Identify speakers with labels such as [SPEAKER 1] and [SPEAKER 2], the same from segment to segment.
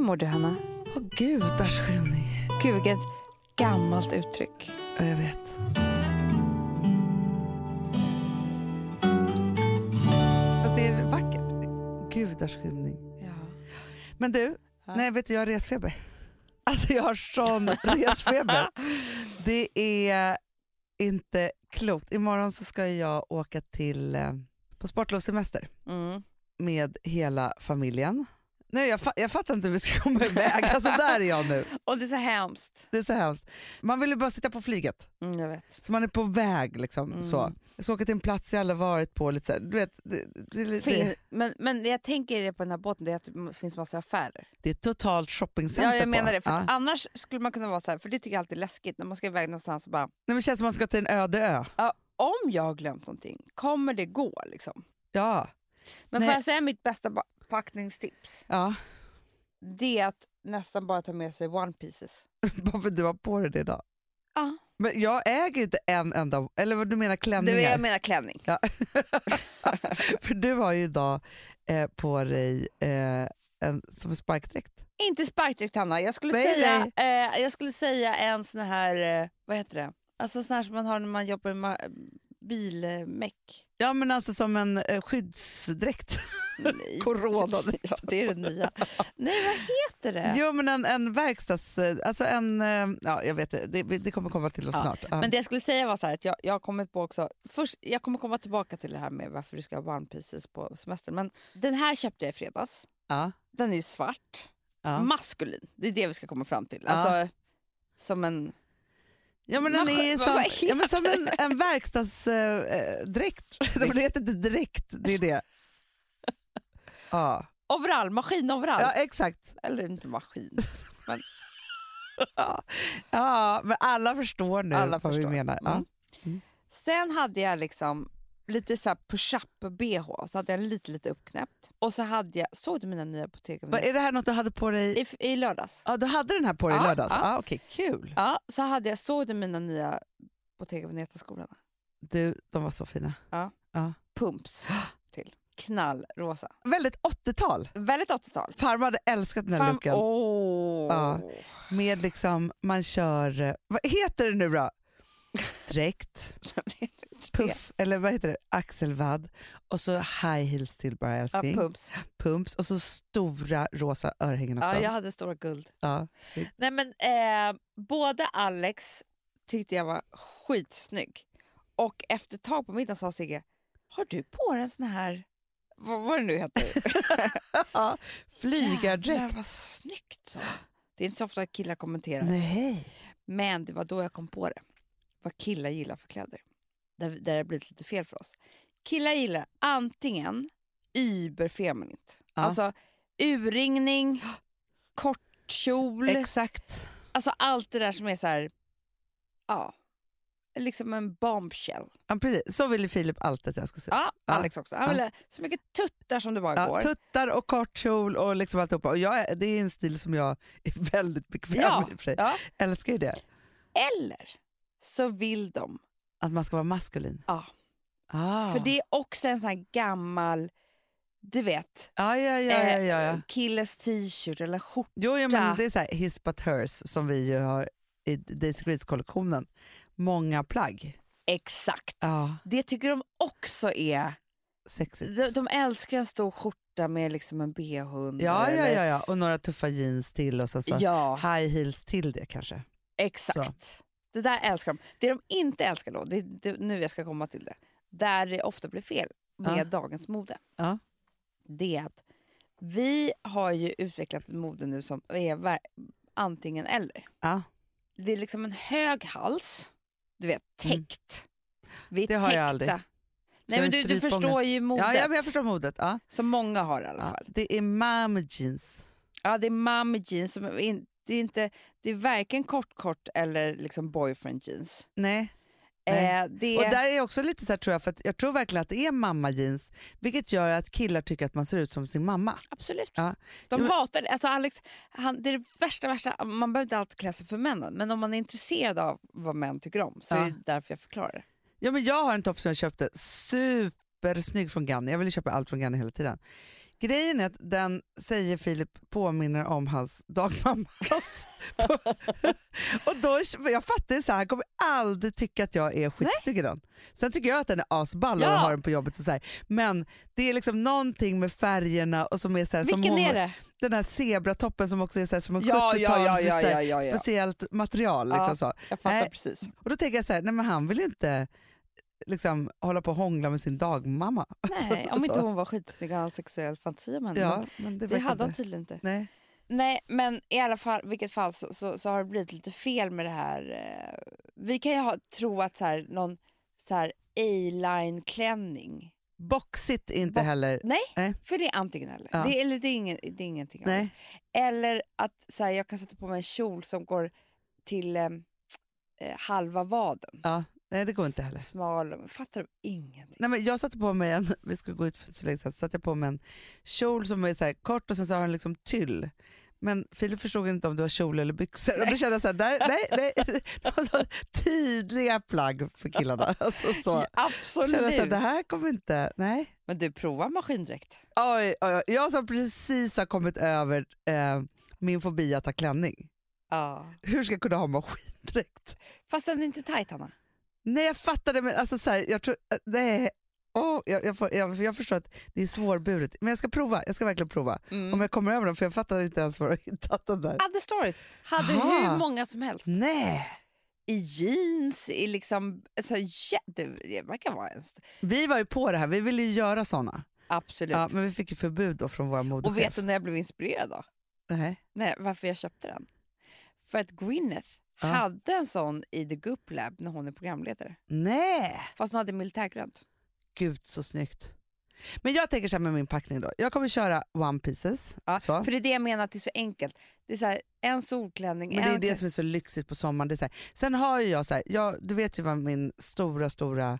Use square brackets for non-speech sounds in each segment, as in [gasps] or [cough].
[SPEAKER 1] mår du, Hanna?
[SPEAKER 2] Åh gudars skymning.
[SPEAKER 1] Gud, vilket gammalt uttryck.
[SPEAKER 2] Ja, jag vet. Fast det är vackert. Gudars skymning.
[SPEAKER 1] Ja.
[SPEAKER 2] Men du,
[SPEAKER 1] Ja.
[SPEAKER 2] nej vet du, jag har resfeber. Alltså jag har sån resfeber. Det är inte klokt. Imorgon så ska jag åka till eh, på sportlovssemester
[SPEAKER 1] Mm.
[SPEAKER 2] med hela familjen. Nej, jag, fa- jag fattar inte hur vi ska komma iväg. Alltså där är jag nu.
[SPEAKER 1] Och det är så hemskt.
[SPEAKER 2] Det är så hemskt. Man vill ju bara sitta på flyget.
[SPEAKER 1] Mm, jag vet.
[SPEAKER 2] Så man är på väg liksom.
[SPEAKER 1] Mm.
[SPEAKER 2] Så. Jag ska åka till en plats jag aldrig varit på. Lite så här, du vet, det, det, det,
[SPEAKER 1] Fin,
[SPEAKER 2] det,
[SPEAKER 1] men, men jag tänker det på den här båten, det är att det finns massa affärer.
[SPEAKER 2] det är ett totalt shoppingcenter
[SPEAKER 1] Ja, jag menar
[SPEAKER 2] på.
[SPEAKER 1] det. För
[SPEAKER 2] Ja.
[SPEAKER 1] Annars skulle man kunna vara så här, för det tycker jag alltid är läskigt, när man ska iväg någonstans och bara,
[SPEAKER 2] Nej, men det känns som man ska till en öde ö.
[SPEAKER 1] "Ja, om jag har glömt någonting, kommer det gå? Liksom.
[SPEAKER 2] Ja.
[SPEAKER 1] Men
[SPEAKER 2] Nej.
[SPEAKER 1] får jag säga mitt bästa ba- packningstips?
[SPEAKER 2] ja. [laughs]
[SPEAKER 1] Det är att nästan bara ta med sig one pieces.
[SPEAKER 2] Bara för att du har på dig det idag.
[SPEAKER 1] Ja.
[SPEAKER 2] Men jag äger inte en enda, eller vad du menar
[SPEAKER 1] Det
[SPEAKER 2] klänningar?
[SPEAKER 1] var jag menar klänning.
[SPEAKER 2] [laughs] För du har ju idag eh, på dig eh, en, som en sparkdräkt.
[SPEAKER 1] Inte sparkdräkt Hanna, jag skulle,
[SPEAKER 2] Nej,
[SPEAKER 1] säga, eh, jag skulle säga en sån här, eh, vad heter det, alltså sån här som man har när man jobbar med ma-
[SPEAKER 2] [laughs]
[SPEAKER 1] bilmeck.
[SPEAKER 2] Ja men alltså som en eh, [laughs] skyddsdräkt.
[SPEAKER 1] Nej.
[SPEAKER 2] Corona.
[SPEAKER 1] [laughs] Ja, det är det nya. Nej, vad heter det?
[SPEAKER 2] Jo men en, en verkstads... eh, Alltså en... eh, Ja jag vet det, det, det kommer komma till oss
[SPEAKER 1] Ja,
[SPEAKER 2] snart. Ja.
[SPEAKER 1] Men det jag skulle säga var så här att jag, jag har kommit på också, först, jag kommer komma tillbaka till det här med varför du ska ha one pieces på semestern, men den här köpte jag i fredags.
[SPEAKER 2] ja,
[SPEAKER 1] Den är ju svart,
[SPEAKER 2] ja.
[SPEAKER 1] maskulin, det är det vi ska komma fram till.
[SPEAKER 2] Ja.
[SPEAKER 1] Alltså, som en...
[SPEAKER 2] ja men den
[SPEAKER 1] Mas-
[SPEAKER 2] är
[SPEAKER 1] alltså, vad- [laughs] vad
[SPEAKER 2] som,
[SPEAKER 1] heter
[SPEAKER 2] ja, men som en, en
[SPEAKER 1] [laughs]
[SPEAKER 2] verkstadsdräkt. det heter inte dräkt, det är det. Ja,
[SPEAKER 1] Overall, maskinoverall.
[SPEAKER 2] ja exakt.
[SPEAKER 1] Eller inte maskin.
[SPEAKER 2] Ja, men alla förstår nu
[SPEAKER 1] Alla
[SPEAKER 2] vad
[SPEAKER 1] förstår.
[SPEAKER 2] vi menar. Ja.
[SPEAKER 1] Mm. Sen hade jag liksom lite så här push-up-bh, så hade jag lite, lite uppknäppt. Och så hade jag, såg du mina nya
[SPEAKER 2] Vad,
[SPEAKER 1] bottega
[SPEAKER 2] Är det här något du hade på dig
[SPEAKER 1] I, I lördags.
[SPEAKER 2] Ja, du hade den här på dig i
[SPEAKER 1] Ja,
[SPEAKER 2] lördags?
[SPEAKER 1] ja.
[SPEAKER 2] Ah, Okej, kul.
[SPEAKER 1] Ja, så hade jag, såg du mina nya Bottega Veneta-skorna?
[SPEAKER 2] Du, de var så fina.
[SPEAKER 1] Pumps [gasps] till. Knallrosa.
[SPEAKER 2] Väldigt 80-tal.
[SPEAKER 1] Väldigt 80-tal.
[SPEAKER 2] Farmor hade älskat den här
[SPEAKER 1] Fan,
[SPEAKER 2] looken.
[SPEAKER 1] åh.
[SPEAKER 2] Ja.
[SPEAKER 1] [laughs]
[SPEAKER 2] Med liksom, man kör, eh, vad heter det nu då? Dräkt, puff, eller vad heter det? Axelvadd. Och så high heels till
[SPEAKER 1] Ja,
[SPEAKER 2] bara älskling.
[SPEAKER 1] pumps.
[SPEAKER 2] Pumps. Och så stora rosa örhängen också.
[SPEAKER 1] Ja, jag hade stora guld.
[SPEAKER 2] Ja, snyggt.
[SPEAKER 1] Nej men eh, både Alex tyckte jag var skitsnygg och efter ett tag på middagen sa Sigge, har du på dig en sån här, vad var det nu [laughs] heter?
[SPEAKER 2] Ja,
[SPEAKER 1] Jävlar
[SPEAKER 2] Flygardräkt.
[SPEAKER 1] vad snyggt sa han. Det är inte så ofta killar kommenterar,
[SPEAKER 2] Nej.
[SPEAKER 1] men det var då jag kom på det. Vad killar gillar för kläder. Där, där det har blivit lite fel för oss. Killar gillar antingen überfeminint,
[SPEAKER 2] Ja.
[SPEAKER 1] alltså urringning, [gasps] kortkjol.
[SPEAKER 2] Exakt.
[SPEAKER 1] Alltså allt det där som är så här, ja, liksom en bombshell.
[SPEAKER 2] Ja, precis. Så ville Filip alltid att jag ska se ut.
[SPEAKER 1] Ja,
[SPEAKER 2] Ja.
[SPEAKER 1] Alex också. Han
[SPEAKER 2] Ja.
[SPEAKER 1] ville så mycket tuttar som det bara
[SPEAKER 2] Ja,
[SPEAKER 1] går.
[SPEAKER 2] tuttar och kort kjol och liksom alltihopa. Och jag, är- det är en stil som jag är väldigt bekväm
[SPEAKER 1] Ja,
[SPEAKER 2] med. i och för sig.
[SPEAKER 1] ja.
[SPEAKER 2] Älskar ju det.
[SPEAKER 1] Eller så vill de,
[SPEAKER 2] Att man ska vara maskulin.
[SPEAKER 1] Ja.
[SPEAKER 2] Ah.
[SPEAKER 1] för det är också en sån här gammal, du vet,
[SPEAKER 2] ja, ja, ja, ja,
[SPEAKER 1] eh,
[SPEAKER 2] ja, ja.
[SPEAKER 1] killes t-shirt eller skjorta.
[SPEAKER 2] Jo, ja,
[SPEAKER 1] Ja.
[SPEAKER 2] men det är så här, his but hers som vi ju har i Daisy Grease-kollektionen. Många plagg.
[SPEAKER 1] Exakt.
[SPEAKER 2] Ja,
[SPEAKER 1] Det tycker de också är,
[SPEAKER 2] sexigt.
[SPEAKER 1] de, de älskar en stor skjorta med liksom en bh under.
[SPEAKER 2] Ja, ja,
[SPEAKER 1] eller-
[SPEAKER 2] ja, alltså. ja, och några tuffa jeans till och sen så
[SPEAKER 1] Ja,
[SPEAKER 2] high heels till det kanske.
[SPEAKER 1] Exakt. Det där älskar de. Det de inte älskar då, det är det- nu jag ska komma till det, där det ofta blir fel med
[SPEAKER 2] Ja.
[SPEAKER 1] dagens mode,
[SPEAKER 2] Ja.
[SPEAKER 1] det är att vi har ju utvecklat ett mode nu som är ver- antingen eller.
[SPEAKER 2] Ja.
[SPEAKER 1] Det är liksom en hög hals, du vet, täckt. Vi är
[SPEAKER 2] Mm. Det har jag
[SPEAKER 1] täckta.
[SPEAKER 2] aldrig.
[SPEAKER 1] Nej,
[SPEAKER 2] har
[SPEAKER 1] men
[SPEAKER 2] en
[SPEAKER 1] du, du
[SPEAKER 2] strypångest.
[SPEAKER 1] förstår ju modet,
[SPEAKER 2] Ja, ja, men jag förstår modet. Ja.
[SPEAKER 1] som många har i alla
[SPEAKER 2] Ja.
[SPEAKER 1] fall.
[SPEAKER 2] Det är mom jeans.
[SPEAKER 1] Ja, det är mom jeans, som är in, det, är inte, det är varken kort-kort eller liksom boyfriend jeans.
[SPEAKER 2] Nej. Nej.
[SPEAKER 1] Eh, det
[SPEAKER 2] Och
[SPEAKER 1] är-
[SPEAKER 2] där är jag också lite så här, tror jag, för att jag tror verkligen att det är mamma jeans, vilket gör att killar tycker att man ser ut som sin mamma.
[SPEAKER 1] Absolut.
[SPEAKER 2] Ja.
[SPEAKER 1] De
[SPEAKER 2] Jo, men-
[SPEAKER 1] hatar det. Alltså Alex, han, det är det värsta, värsta. Man behöver inte alltid klä sig för männen, men om man är intresserad av vad män tycker om så
[SPEAKER 2] Ja.
[SPEAKER 1] är det därför jag förklarar det.
[SPEAKER 2] Ja, men jag har en topp som jag köpte, supersnygg från Ganni. Jag ville köpa allt från Ganni hela tiden. Grejen är att den, säger Filip, påminner om hans dagmamma.
[SPEAKER 1] [laughs]
[SPEAKER 2] [laughs] och då, för jag fattar ju så här, han kommer aldrig tycka att jag är skitsnygg i den. Sen tycker jag att den är asball och
[SPEAKER 1] Ja.
[SPEAKER 2] har den på jobbet och så här. Men det är liksom någonting med färgerna och som är så här, som
[SPEAKER 1] Vilken
[SPEAKER 2] hon-
[SPEAKER 1] är det?
[SPEAKER 2] den här zebratoppen som också är så här, som en 70-tals lite så här
[SPEAKER 1] ja,
[SPEAKER 2] speciellt material. Liksom
[SPEAKER 1] Ja.
[SPEAKER 2] så.
[SPEAKER 1] Jag fattar
[SPEAKER 2] eh, Nej.
[SPEAKER 1] precis.
[SPEAKER 2] [laughs] Och då tänker jag så här, nej men han vill ju inte liksom, hålla på och hångla med sin dagmamma.
[SPEAKER 1] Nej,
[SPEAKER 2] Så-
[SPEAKER 1] om inte
[SPEAKER 2] så.
[SPEAKER 1] hon var skitsnygg och hade en sexuell fantasi om henne. men
[SPEAKER 2] Alltså, Ja, men det,
[SPEAKER 1] det
[SPEAKER 2] verkar
[SPEAKER 1] hade han
[SPEAKER 2] inte.
[SPEAKER 1] tydligen inte.
[SPEAKER 2] Nej.
[SPEAKER 1] Nej, men i alla fall, vilket fall så, så, så har det blivit lite fel med det här. eh, Vi kan ju ha, tro att så här, någon så här A-line-klänning.
[SPEAKER 2] Boxigt är inte
[SPEAKER 1] Bo-
[SPEAKER 2] heller.
[SPEAKER 1] För det är antingen eller.
[SPEAKER 2] Ja.
[SPEAKER 1] Det, är- eller det, är ingen, det är ingenting annat.
[SPEAKER 2] Nej.
[SPEAKER 1] Eller att så här, jag kan sätta på mig en kjol som går till eh, eh, halva vaden.
[SPEAKER 2] Ja, nej, det går inte heller.
[SPEAKER 1] Smal. Fattar du ingenting?
[SPEAKER 2] Nej, men jag satte på mig en, [laughs] vi skulle gå ut för inte så länge sedan, så satte jag på mig en kjol som är så här kort och sen så har den liksom tyll. Men Filip förstod inte om det var kjol eller byxor och då kände jag så här, nej, nej, nej. [laughs] Det var så tydliga plagg för killarna. Alltså, så.
[SPEAKER 1] Absolut!
[SPEAKER 2] Kände jag så här, det här kommer inte, nej.
[SPEAKER 1] Men du, prova maskindräkt.
[SPEAKER 2] Oj, oj, oj. Jag som precis har kommit över eh, min fobi att ha klänning.
[SPEAKER 1] Ja.
[SPEAKER 2] Hur ska jag kunna ha maskindräkt?
[SPEAKER 1] Fast den är inte tajt, Hanna.
[SPEAKER 2] Nej, jag fattar det, men alltså, så här, jag tror... eh, Nej. Åh, jag, jag, får, jag, jag förstår att det är svårburet, men jag ska prova. Jag ska verkligen prova.
[SPEAKER 1] Mm.
[SPEAKER 2] Om jag kommer över dem, för jag fattar inte ens var jag har hittat den där.
[SPEAKER 1] Other stories. Hade
[SPEAKER 2] Aha.
[SPEAKER 1] hur många som helst.
[SPEAKER 2] Nej.
[SPEAKER 1] I jeans, i liksom... Alltså, ja, det, det verkar vara en... st-
[SPEAKER 2] Vi var ju på det här, vi ville ju göra såna.
[SPEAKER 1] Absolut.
[SPEAKER 2] Ja, men vi fick ju förbud då från våra modechef.
[SPEAKER 1] Och vet du när jag blev inspirerad av?
[SPEAKER 2] Nej.
[SPEAKER 1] Nej, varför jag köpte den? För att Gwyneth
[SPEAKER 2] Ja.
[SPEAKER 1] hade en sån i The Goop Lab när hon är programledare.
[SPEAKER 2] Nej.
[SPEAKER 1] Fast hon hade militärgrönt.
[SPEAKER 2] Gud så snyggt. Men jag tänker så här med min packning då. Jag kommer köra one pieces.
[SPEAKER 1] Ja,
[SPEAKER 2] så.
[SPEAKER 1] För det är det jag menar att det är så enkelt. Det är så här, en solklänning,
[SPEAKER 2] Men det är
[SPEAKER 1] en
[SPEAKER 2] det som är så lyxigt på sommaren. Det är så här. Sen har ju jag, så här, jag, du vet ju vad min stora, stora,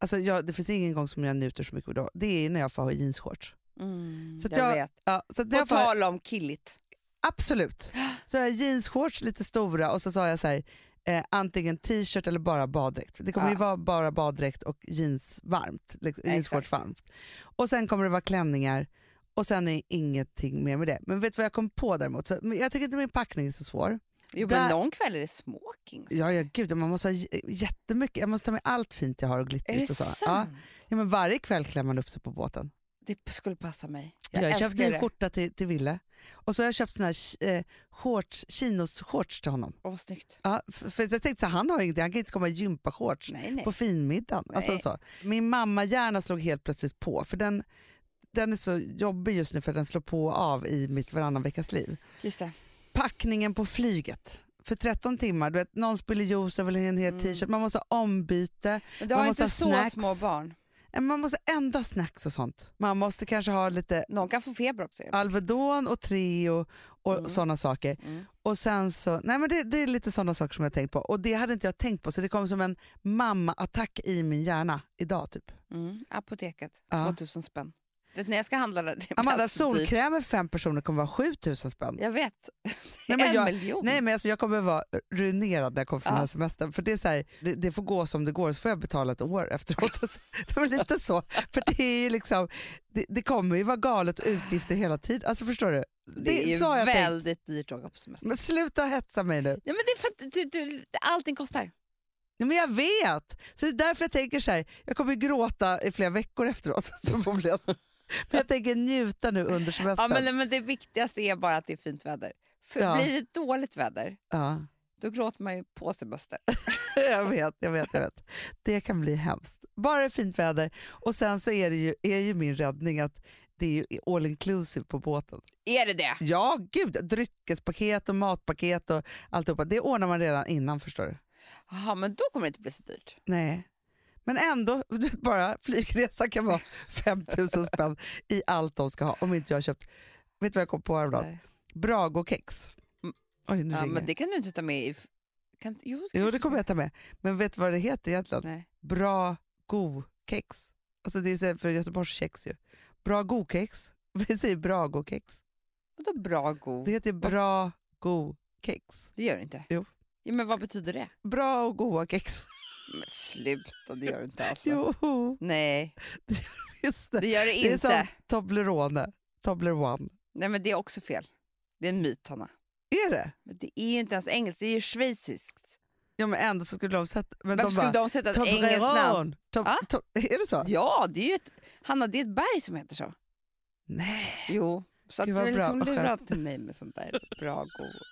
[SPEAKER 2] alltså jag, det finns ingen gång som jag njuter så mycket av då. Det är ju när jag får ha jeansshorts.
[SPEAKER 1] Mm,
[SPEAKER 2] Så att
[SPEAKER 1] jag,
[SPEAKER 2] jag-
[SPEAKER 1] vet.
[SPEAKER 2] Ja, så att när
[SPEAKER 1] På
[SPEAKER 2] jag får, ha-
[SPEAKER 1] tal om killigt.
[SPEAKER 2] absolut. Så har jag jeansshorts, lite stora och så, så har jag så här, eh, antingen t-shirt eller bara baddräkt. Det kommer
[SPEAKER 1] Ja.
[SPEAKER 2] ju vara bara baddräkt och jeans varmt, liksom,
[SPEAKER 1] Exakt.
[SPEAKER 2] jeansshorts varmt. Och sen kommer det vara klänningar och sen är ingenting mer med det. Men vet du vad jag kom på däremot? Så, men jag tycker inte min packning är så svår.
[SPEAKER 1] Jo,
[SPEAKER 2] Där-
[SPEAKER 1] men någon kväll är det smoking.
[SPEAKER 2] Ja, ja gud, man måste ha j- jättemycket. Jag måste ta med allt fint jag har och
[SPEAKER 1] Är det
[SPEAKER 2] glittrigt och så.
[SPEAKER 1] sant?
[SPEAKER 2] Ja. ja, men varje kväll klär man upp sig på båten.
[SPEAKER 1] Det skulle passa mig.
[SPEAKER 2] Jag,
[SPEAKER 1] Jag, älskar
[SPEAKER 2] köpte ju en
[SPEAKER 1] det.
[SPEAKER 2] skjorta till, till Ville och så har jag köpt såna här ch- eh, shorts, chinos-shorts till honom.
[SPEAKER 1] Åh, vad snyggt.
[SPEAKER 2] Ja, för, för jag tänkte så här, han har ingenting, han kan inte komma i gympashorts
[SPEAKER 1] Nej, nej.
[SPEAKER 2] på finmiddagen. Alltså,
[SPEAKER 1] Nej.
[SPEAKER 2] så. Min mamma gärna slog helt plötsligt på, för den, den är så jobbig just nu för den slår på och av i mitt varannan veckas liv.
[SPEAKER 1] Just det.
[SPEAKER 2] packningen på flyget för 13 timmar. Du vet, någon spiller juice över en hel
[SPEAKER 1] Mm.
[SPEAKER 2] t-shirt. Man måste ha ombyte.
[SPEAKER 1] Men du
[SPEAKER 2] Man
[SPEAKER 1] har
[SPEAKER 2] måste
[SPEAKER 1] inte
[SPEAKER 2] ha
[SPEAKER 1] så
[SPEAKER 2] snacks.
[SPEAKER 1] små barn.
[SPEAKER 2] Eh, Man måste ändå ha snacks och sånt. Man måste kanske ha lite
[SPEAKER 1] Någon kan få feber också.
[SPEAKER 2] Alvedon och Treo och
[SPEAKER 1] Mm.
[SPEAKER 2] sådana saker.
[SPEAKER 1] Mm.
[SPEAKER 2] Och sen så, nej men det, det är lite sådana saker som jag har tänkt på. Och det hade inte jag tänkt på så det kom som en mamma-attack i min hjärna idag typ.
[SPEAKER 1] Mm. Apoteket,
[SPEAKER 2] Ja.
[SPEAKER 1] 2000 spänn. Vet, när jag ska handla där, det är
[SPEAKER 2] Amanda,
[SPEAKER 1] ganska dyrt.
[SPEAKER 2] solkräm med fem personer kommer vara
[SPEAKER 1] [laughs]
[SPEAKER 2] 7000 spänn.
[SPEAKER 1] Jag vet.
[SPEAKER 2] Nej, men
[SPEAKER 1] en
[SPEAKER 2] jag-
[SPEAKER 1] miljon.
[SPEAKER 2] Nej men alltså jag kommer vara ruinerad när jag kommer från den här
[SPEAKER 1] Ja.
[SPEAKER 2] semestern. För det, är så här, det, det får gå som det går så får jag betala ett
[SPEAKER 1] [laughs]
[SPEAKER 2] år efteråt. Och så- [laughs] Det var lite så. För det är ju liksom, det, det kommer ju vara galet och utgifter hela tiden. Alltså förstår du?
[SPEAKER 1] det,
[SPEAKER 2] det-
[SPEAKER 1] är ju
[SPEAKER 2] så har jag tänkt.
[SPEAKER 1] väldigt dyrt att åka på semester.
[SPEAKER 2] Men sluta hetsa mig nu.
[SPEAKER 1] Ja, men det är för att du, du, allting kostar.
[SPEAKER 2] Ja, men jag vet! Så det är därför jag tänker så här, jag kommer ju gråta i flera veckor efteråt [laughs]
[SPEAKER 1] [laughs]
[SPEAKER 2] förmodligen. Men jag tänker njuta nu under
[SPEAKER 1] Ja,
[SPEAKER 2] semestern. Ja,
[SPEAKER 1] men, men det viktigaste är bara att det är fint väder. För
[SPEAKER 2] Ja.
[SPEAKER 1] blir det dåligt väder, då gråter man ju på semester.
[SPEAKER 2] [laughs] jag vet, jag vet, jag vet. Det kan bli hemskt. Bara det är fint väder. Och sen så är det ju, är ju min räddning att det är ju all inclusive på båten.
[SPEAKER 1] Är det det?
[SPEAKER 2] Ja, gud. Dryckespaket och matpaket och alltihopa. Det ordnar man redan innan förstår du.
[SPEAKER 1] Jaha, men då kommer det inte bli så dyrt.
[SPEAKER 2] Nej. Men ändå, [laughs] du vet, bara flygresa kan vara [laughs] 5 000 spänn i allt de ska ha. Om inte jag har köpt, vet du vad jag kom på häromdagen?
[SPEAKER 1] Nej.
[SPEAKER 2] Bragokex.
[SPEAKER 1] Mm.
[SPEAKER 2] Oj, nu
[SPEAKER 1] Ja,
[SPEAKER 2] ringer
[SPEAKER 1] men
[SPEAKER 2] det.
[SPEAKER 1] det kan du inte ta med i... Kan, jo, det
[SPEAKER 2] Jo,
[SPEAKER 1] kanske
[SPEAKER 2] det kommer jag ta med. Men vet du vad det heter egentligen?
[SPEAKER 1] Nej.
[SPEAKER 2] bra go kex. Alltså det är så här för Göteborgskex ju. Bra go kex. [laughs] Vi säger bra go kex.
[SPEAKER 1] Vadå bra god?
[SPEAKER 2] Det
[SPEAKER 1] Det,
[SPEAKER 2] heter bra go kex.
[SPEAKER 1] gör det inte.
[SPEAKER 2] Jo.
[SPEAKER 1] Ja, men vad betyder det?
[SPEAKER 2] Bra och goa kex.
[SPEAKER 1] Men sluta, det gör det inte alls.
[SPEAKER 2] Jo,
[SPEAKER 1] Nej,
[SPEAKER 2] visst det.
[SPEAKER 1] det gör det
[SPEAKER 2] Det är
[SPEAKER 1] inte.
[SPEAKER 2] som Toblerone. Toblerone.
[SPEAKER 1] Nej, men det är också fel. Det är en myt, Hanna.
[SPEAKER 2] Är det?
[SPEAKER 1] Men det är ju inte ens engelskt, det är ju schweiziskt.
[SPEAKER 2] Ja men ändå så skulle de sätta... Men
[SPEAKER 1] Varför
[SPEAKER 2] de
[SPEAKER 1] skulle
[SPEAKER 2] bara,
[SPEAKER 1] de sätta ett engelskt namn?
[SPEAKER 2] Toblerone! Tob- [laughs]
[SPEAKER 1] Ah?
[SPEAKER 2] to- är det så?
[SPEAKER 1] Ja, det är ju ett, Hanna, det är ett berg som heter så.
[SPEAKER 2] Nej,
[SPEAKER 1] Jo. Så att
[SPEAKER 2] Gud,
[SPEAKER 1] du
[SPEAKER 2] vad
[SPEAKER 1] är liksom
[SPEAKER 2] bra.
[SPEAKER 1] lurad till mig med sånt där bra, god...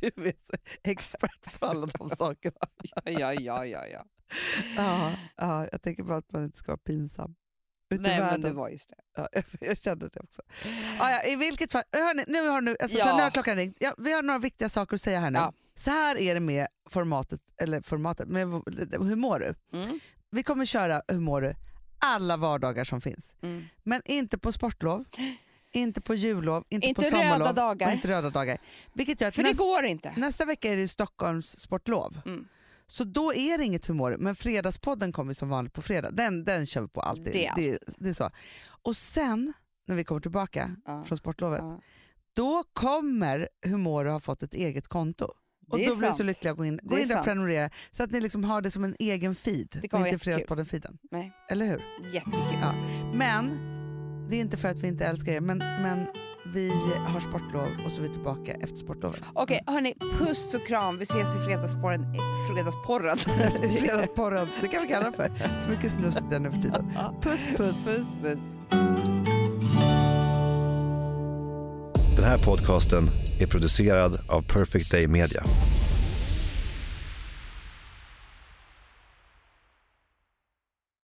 [SPEAKER 2] du är så expert på alla de
[SPEAKER 1] [laughs]
[SPEAKER 2] sakerna.
[SPEAKER 1] [laughs] Ja, ja, ja, ja.
[SPEAKER 2] Ja, ja, jag tänker bara att man inte ska vara pinsam. Ute i
[SPEAKER 1] Nej, men
[SPEAKER 2] världen.
[SPEAKER 1] det var just det.
[SPEAKER 2] Ja, [laughs] jag kände det också. Ah, ja, I vilket fall, hörni, nu har, nu, alltså,
[SPEAKER 1] Ja.
[SPEAKER 2] sen har klockan ringt. Ja, vi har några viktiga saker att säga här nu.
[SPEAKER 1] Ja.
[SPEAKER 2] Så här är det med formatet, eller formatet, med Hur mår du?
[SPEAKER 1] Mm.
[SPEAKER 2] Vi kommer köra Hur mår du? alla vardagar som finns.
[SPEAKER 1] Mm.
[SPEAKER 2] Men inte på sportlov, inte på jullov, inte,
[SPEAKER 1] Inte
[SPEAKER 2] på
[SPEAKER 1] röda
[SPEAKER 2] sommarlov
[SPEAKER 1] dagar.
[SPEAKER 2] och inte röda dagar. Vilket gör att
[SPEAKER 1] För
[SPEAKER 2] nästa,
[SPEAKER 1] det går inte.
[SPEAKER 2] nästa vecka är det ju Stockholms sportlov.
[SPEAKER 1] Mm.
[SPEAKER 2] Så då är det inget humor, men Fredagspodden kommer som vanligt på fredag. Den, den kör vi på alltid.
[SPEAKER 1] Det är
[SPEAKER 2] det, det är så. Och sen när vi kommer tillbaka
[SPEAKER 1] Ja.
[SPEAKER 2] från sportlovet,
[SPEAKER 1] Ja.
[SPEAKER 2] då kommer Humor att ha fått ett eget konto. Och
[SPEAKER 1] Det är
[SPEAKER 2] då blir vi så
[SPEAKER 1] sant.
[SPEAKER 2] lyckliga att gå in, gå
[SPEAKER 1] Det är
[SPEAKER 2] in där och
[SPEAKER 1] sant.
[SPEAKER 2] prenumerera så att ni liksom har det som en egen feed.
[SPEAKER 1] Det kommer vara
[SPEAKER 2] inte
[SPEAKER 1] jättekul.
[SPEAKER 2] Fredagspodden-feeden.
[SPEAKER 1] Nej.
[SPEAKER 2] Eller hur?
[SPEAKER 1] Jättekul.
[SPEAKER 2] Ja. Men det är inte för att vi inte älskar er, men, men vi har sportlov och så är vi tillbaka efter sportlovet.
[SPEAKER 1] Okej, hörni. Puss och kram. Vi ses i fredagsporren. eh, Fredagsporren.
[SPEAKER 2] Fredagsporren, det kan vi kalla det för. Så mycket snusk där nu för tiden. Puss
[SPEAKER 1] [laughs]
[SPEAKER 2] puss.
[SPEAKER 1] puss, puss.
[SPEAKER 3] Den här podcasten är producerad av Perfect Day Media.